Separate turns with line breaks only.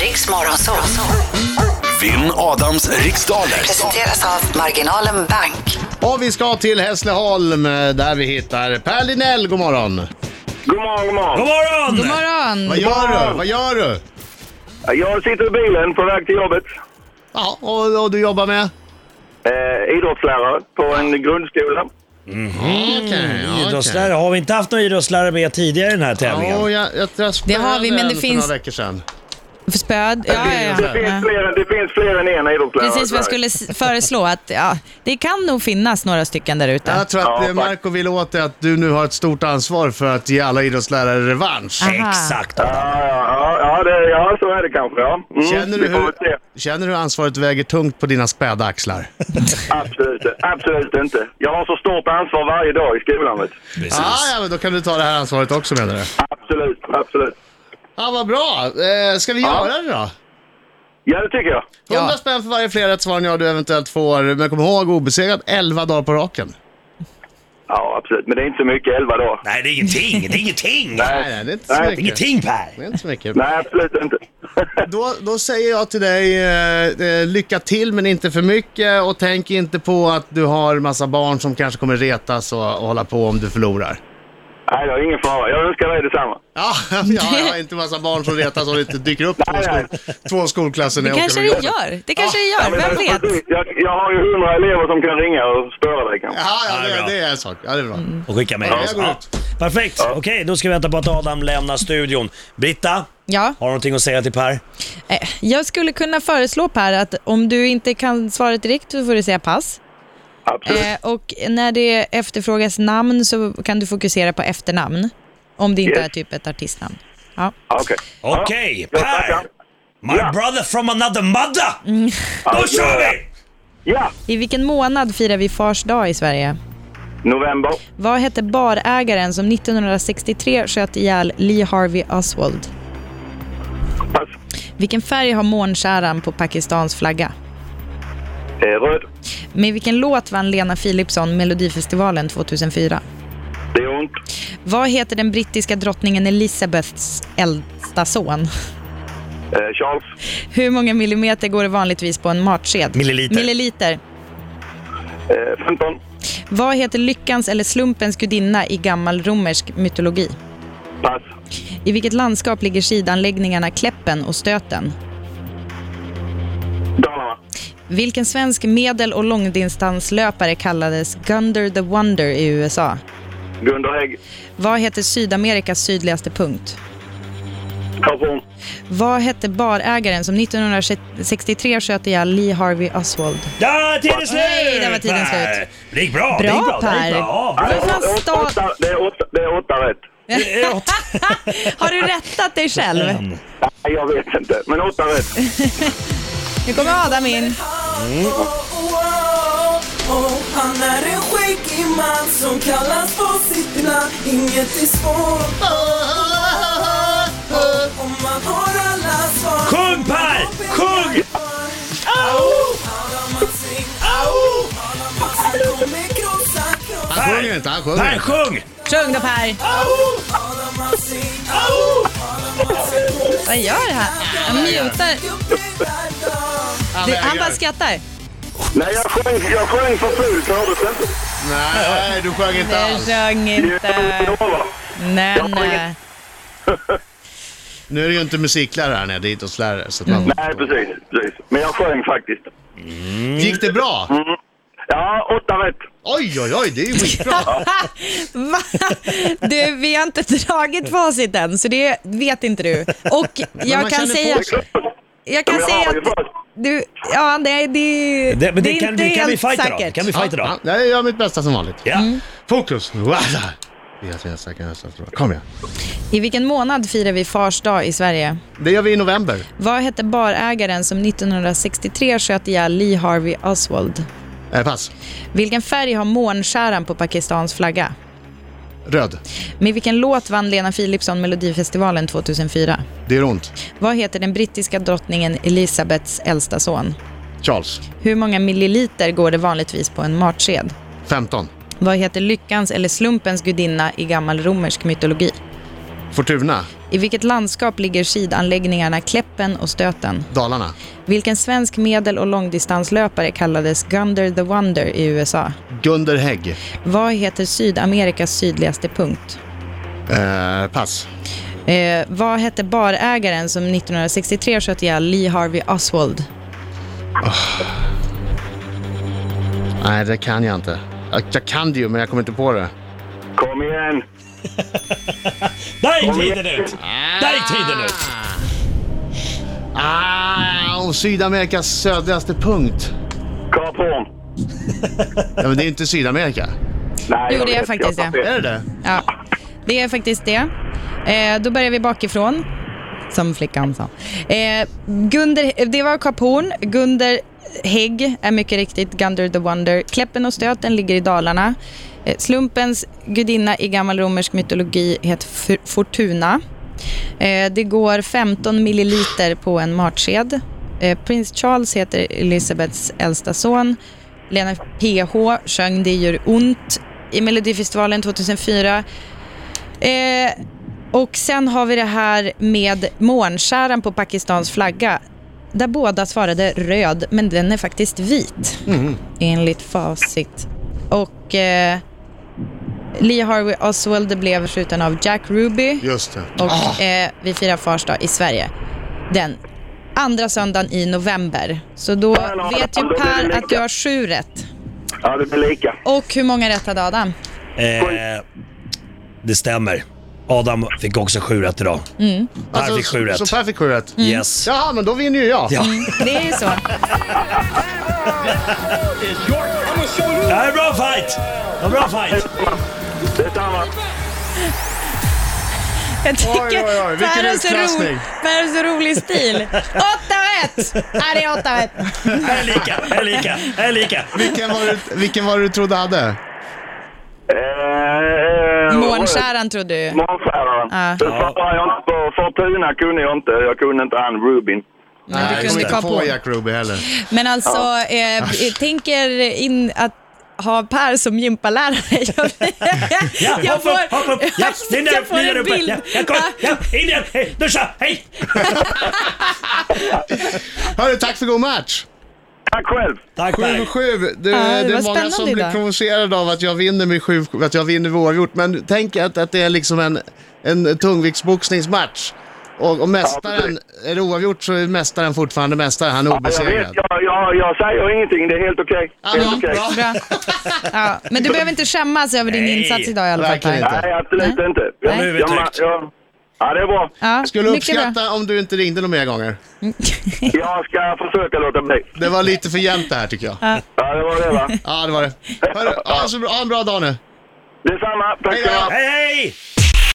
Riks Morgonzoo.
Vinn Adams riksdaler.
Presenteras av Marginalen Bank.
Och vi ska till Hässleholm eh, där vi hittar Per Linell, god morgon.
God morgon, god
God
morgon.
morgon!
God morgon!
Vad gör du? Vad gör du?
Jag sitter i bilen på väg till jobbet.
Ja, och, och du jobbar med?
Eh, idrottslärare på en grundskola.
Mm,
Idrottslärare. Har vi inte haft någon idrottslärare med tidigare i den här tävlingen?
Ja, jag, jag
Det har vi, men
för
det
några
finns-
veckor sedan.
För spöd? Ja, ja,
Det,
ja.
finns
ja.
fler, än- det finns fler än en idrottslärare.
Precis vad jag skulle s- föreslå. Att, ja, det kan nog finnas några stycken där ute.
Jag tror att
Ja,
det Marco vill åt det att du nu har ett stort ansvar för att ge alla idrottslärare revansch.
Aha.
Exakt. Adam.
Ja, ja, ja, det, ja, så är det kanske. Ja. Mm,
Känner du,
vi får väl se.
hur, känner du hur ansvaret väger tungt på dina späda axlar?
Absolut, absolut inte. Jag har så stort ansvar varje dag i skolan. Vet. du.
Ah, ja, men då kan du ta det här ansvaret också menar du?
Absolut, absolut.
Ja, vad bra. Eh, ska vi
Ja.
göra det då?
Ja, det tycker jag.
100 spänn för varje fler rätt svar än jag du eventuellt får. Men kom ihåg, obesegrad 11 dagar på raken.
Ja, absolut. Men det är inte så mycket, elva dagar.
Nej, det är ingenting. Det är ingenting. Det
Nej, nej, det är inte så
Nej.
är
mycket.
ingenting Per.
Det är inte så mycket.
Nej, absolut inte.
Då, då säger jag till dig, eh, eh, lycka till men inte för mycket och tänk inte på att du har massa barn som kanske kommer retas och, och hålla på om du förlorar.
Nej, det är ingen fara. Jag önskar dig detsamma.
Ja, jag har inte massa barn som retas och det inte dyker upp två,
Nej, nej.
skol, två skolklasser när
Det
jag åker
kanske
på
det
jobbet.
gör. Det kanske det
Ja,
gör.
men
Vem
det-
vet?
Jag, jag har ju hundra elever som kan ringa och störa dig kanske.
Ja, ja
Ja, det är
det,
bra.
det är en sak. Ja, det är bra.
Och skicka med.
Ja,
jag går ut.
Perfekt. Okej, då ska vi vänta på att Adam lämnar studion. Britta,
Ja.
har du någonting att säga till Per?
Eh, Jag skulle kunna föreslå Per att om du inte kan svaret direkt så får du säga pass.
Absolut.
Eh, Och när det efterfrågas namn så kan du fokusera på efternamn. Om det inte
Yes.
är typ ett artistnamn. Ja.
Okej.
Okej,
Ja, jag
Per!
tackar.
My
Ja.
brother from another mother!
Mm.
Då kör vi!
Ja,
I vilken månad firar vi Fars dag i Sverige?
november.
Vad hette barägaren som 1963 sköt ihjäl Lee Harvey Oswald?
Pass.
Vilken färg har månskäran på Pakistans flagga?
Eh, röd.
Med vilken låt vann Lena Philipsson Melodifestivalen 2004?
Det är ont.
Vad heter den brittiska drottningen Elizabeths äldsta son?
Eh, Charles.
Hur många millimeter går det vanligtvis på en matsked?
Milliliter.
Milliliter.
Eh, 15.
Vad heter lyckans eller slumpens gudinna i gammal romersk mytologi?
Pass.
I vilket landskap ligger skidanläggningarna Kläppen och Stöten?
Dalarna.
Vilken svensk medel och långdistanslöpare kallades Gunder the Wonder i USA?
Gunder Hägg.
Vad heter Sydamerikas sydligaste punkt?
Karlsson.
Vad hette barägaren som 1963 sköt ihjäl Lee Harvey Oswald?
Ja, tiden är slut!
Nej, där var tiden
Per.
slut.
Det gick bra. det
Bra,
gick bra. Det
Per.
gick bra. Ja,
Vad fan
Åt- åt-
stad-
åtta- Det är åtta, det är åtta rätt.
det är åt-
Har du rättat dig själv?
Nej, jag vet inte. Men åtta rätt.
Nu kommer Adam
Mm.
in.
Oh, Han är en skäggig man som kallas på sitt namn Inget är
Oh,
svårt om man har alla svar
Sjung Per! Sjung! Au!
Han sjunger inte, han sjunger.
Per, sjung!
Sjung då Per. Vad gör han? Han mutar. Det, han bara skrattar.
Nej, jag sjöng, jag sjöng för fult. Hördes det inte?
Nej, du sjöng inte
Det
alls.
sjöng inte.
Jag lovar.
Nej, nej.
Nu är det ju inte musiklärare här nere, det är idrottslärare. Så att man...
Nej, precis, precis. Men jag sjöng faktiskt.
Gick det bra?
Ja, åtta rätt.
Oj, oj, oj, det är ju skitbra.
Va? Du, vi har inte dragit facit än, så det vet inte du. Och
man
jag kan
känner på
säga,
sig.
jag kan
Men
säga
jag har ju
att
först.
du, ja, nej, det,
Det, men det,
är
kan,
inte
det kan vi
helt
fighta då. Det
säkert. Mm.
kan vi fighta då.
Ja, ja, jag gör mitt bästa som vanligt.
Ja.
Fokus! Wada! Yes, yes, I can answer for- Kom igen.
I vilken månad firar vi Fars dag i Sverige?
Det gör vi i november.
Vad hette barägaren som 1963 sköt ihjäl Lee Harvey Oswald?
Eh, pass.
Vilken färg har månskäran på Pakistans flagga?
Röd.
Med vilken låt vann Lena Philipsson Melodifestivalen 2004?
Det gör ont.
Vad heter den brittiska drottningen Elisabeths äldsta son?
Charles.
Hur många milliliter går det vanligtvis på en matsked?
15.
Vad heter lyckans eller slumpens gudinna i gammal romersk mytologi?
Fortuna,
I vilket landskap ligger skidanläggningarna Kläppen och Stöten?
Dalarna,
Vilken svensk medel och långdistanslöpare kallades Gunder the Wonder i USA?
Gunder Hägg.
Vad heter Sydamerikas sydligaste punkt?
Eh, pass.
Eh, vad hette barägaren som 1963 sköt ihjäl Lee Harvey Oswald?
Nej, det kan jag inte. Jag, jag kan det ju, men jag kommer inte på det.
Kom igen!
Där gick tiden ut! Där gick tiden ut!
Ah, och Sydamerikas södraste punkt.
Kap Horn!
Ja, men det är ju inte Sydamerika.
Nej,
Jo, det är
vet,
faktiskt
jag tar
det.
fel.
Är det det?
Ja, det är faktiskt det. Eh, då börjar vi bakifrån, som flickan sa. Eh, Gunder, det var Kap Horn. Gunder Hägg är mycket riktigt Gunder the Wonder. Kläppen och stöten ligger i Dalarna. Eh, slumpens gudinna i gammal romersk mytologi heter F- Fortuna. Eh, det går 15 milliliter på en matsked. Eh, prins Charles heter Elizabeths äldsta son. Lena PH sjöng Det gör ont i Melodifestivalen 2004. Eh, och sen har vi det här med månskäran på Pakistans flagga. Där båda svarade röd, men den är faktiskt vit. Enligt facit. Och eh, Lee Harvey Oswald blev skjuten av Jack Ruby.
Just det.
Och eh, vi firar Fars dag i Sverige. Den andra söndagen i november. Så då
Adam,
vet ju
då blir det
Per
lika.
att du har sju rätt.
Ja, det blir lika.
Och hur många rätt hade Adam?
Oj.
Eh, det stämmer. Adam fick också sju rätt idag.
Mm.
Per
Alltså,
fick sju rätt.
Alltså, Så Per fick sju rätt.
Yes.
Jaha, men då vinner ju jag.
Ja.
Det är ju så.
Det här är en bra fight! Det var en bra fight!
Detsamma!
Jag tycker
Oj, oj, oj, vilken
Per har så
utklassning.
ro- Per har så rolig stil. Åtta rätt! Ja, det är åtta rätt.
Här är lika, här är lika, här är lika.
Vilken, var det, vilken var det du trodde hade?
Eh, eh,
Månskäran trodde du.
Månskäran.
Ja.
Det svarar jag inte på. Fortuna kunde jag inte. Jag kunde inte han Rubin.
Men du
jag
kunde
kommer
inte
inte
på.
på Jack Ruby heller.
Men alltså, eh, jag tänker in att ha Per som gympalärare. Jag,
Ja,
jag
hopp upp, hopp upp. Ja, in där,
jag får
in där
en
uppe.
bild.
Ja, ja, kom, ja, in där, hej, duscha, hej!
Hörru, tack för god match.
Tack själv!
Tack
7
Per.
7 det,
det
det
var
är många
spännande
som blir
idag.
provocerade av att jag vinner med 7 att jag vinner med oavgjort. Men tänk att, att det är liksom en, en tungviktsboxningsmatch. Och, och mästaren, är det oavgjort så är mästaren fortfarande mästare. Han är
Ja, Jag, vet,
obesegrad.
jag, jag, jag säger ingenting. Det är helt okej. Helt okej.
bra.
Bra. Ja, men du behöver inte skämmas över din
Nej,
insats idag i alla fall
verkligen
Per.
inte.
Nej, absolut inte.
Ja, nu
är vi
Jag-
tryggt.
jag- Ja, det är bra.
Ja,
Skulle
mycket bra.
uppskatta om du inte ringde några mer gånger.
Jag ska försöka låta bli.
Det var lite för jämnt det här tycker jag. Ja,
Ja, det var det va?
det var det. Hörru, ha, så bra, ha en bra dag nu.
Detsamma. Tack
Hej då.
ska ni ha.
Hej, hej!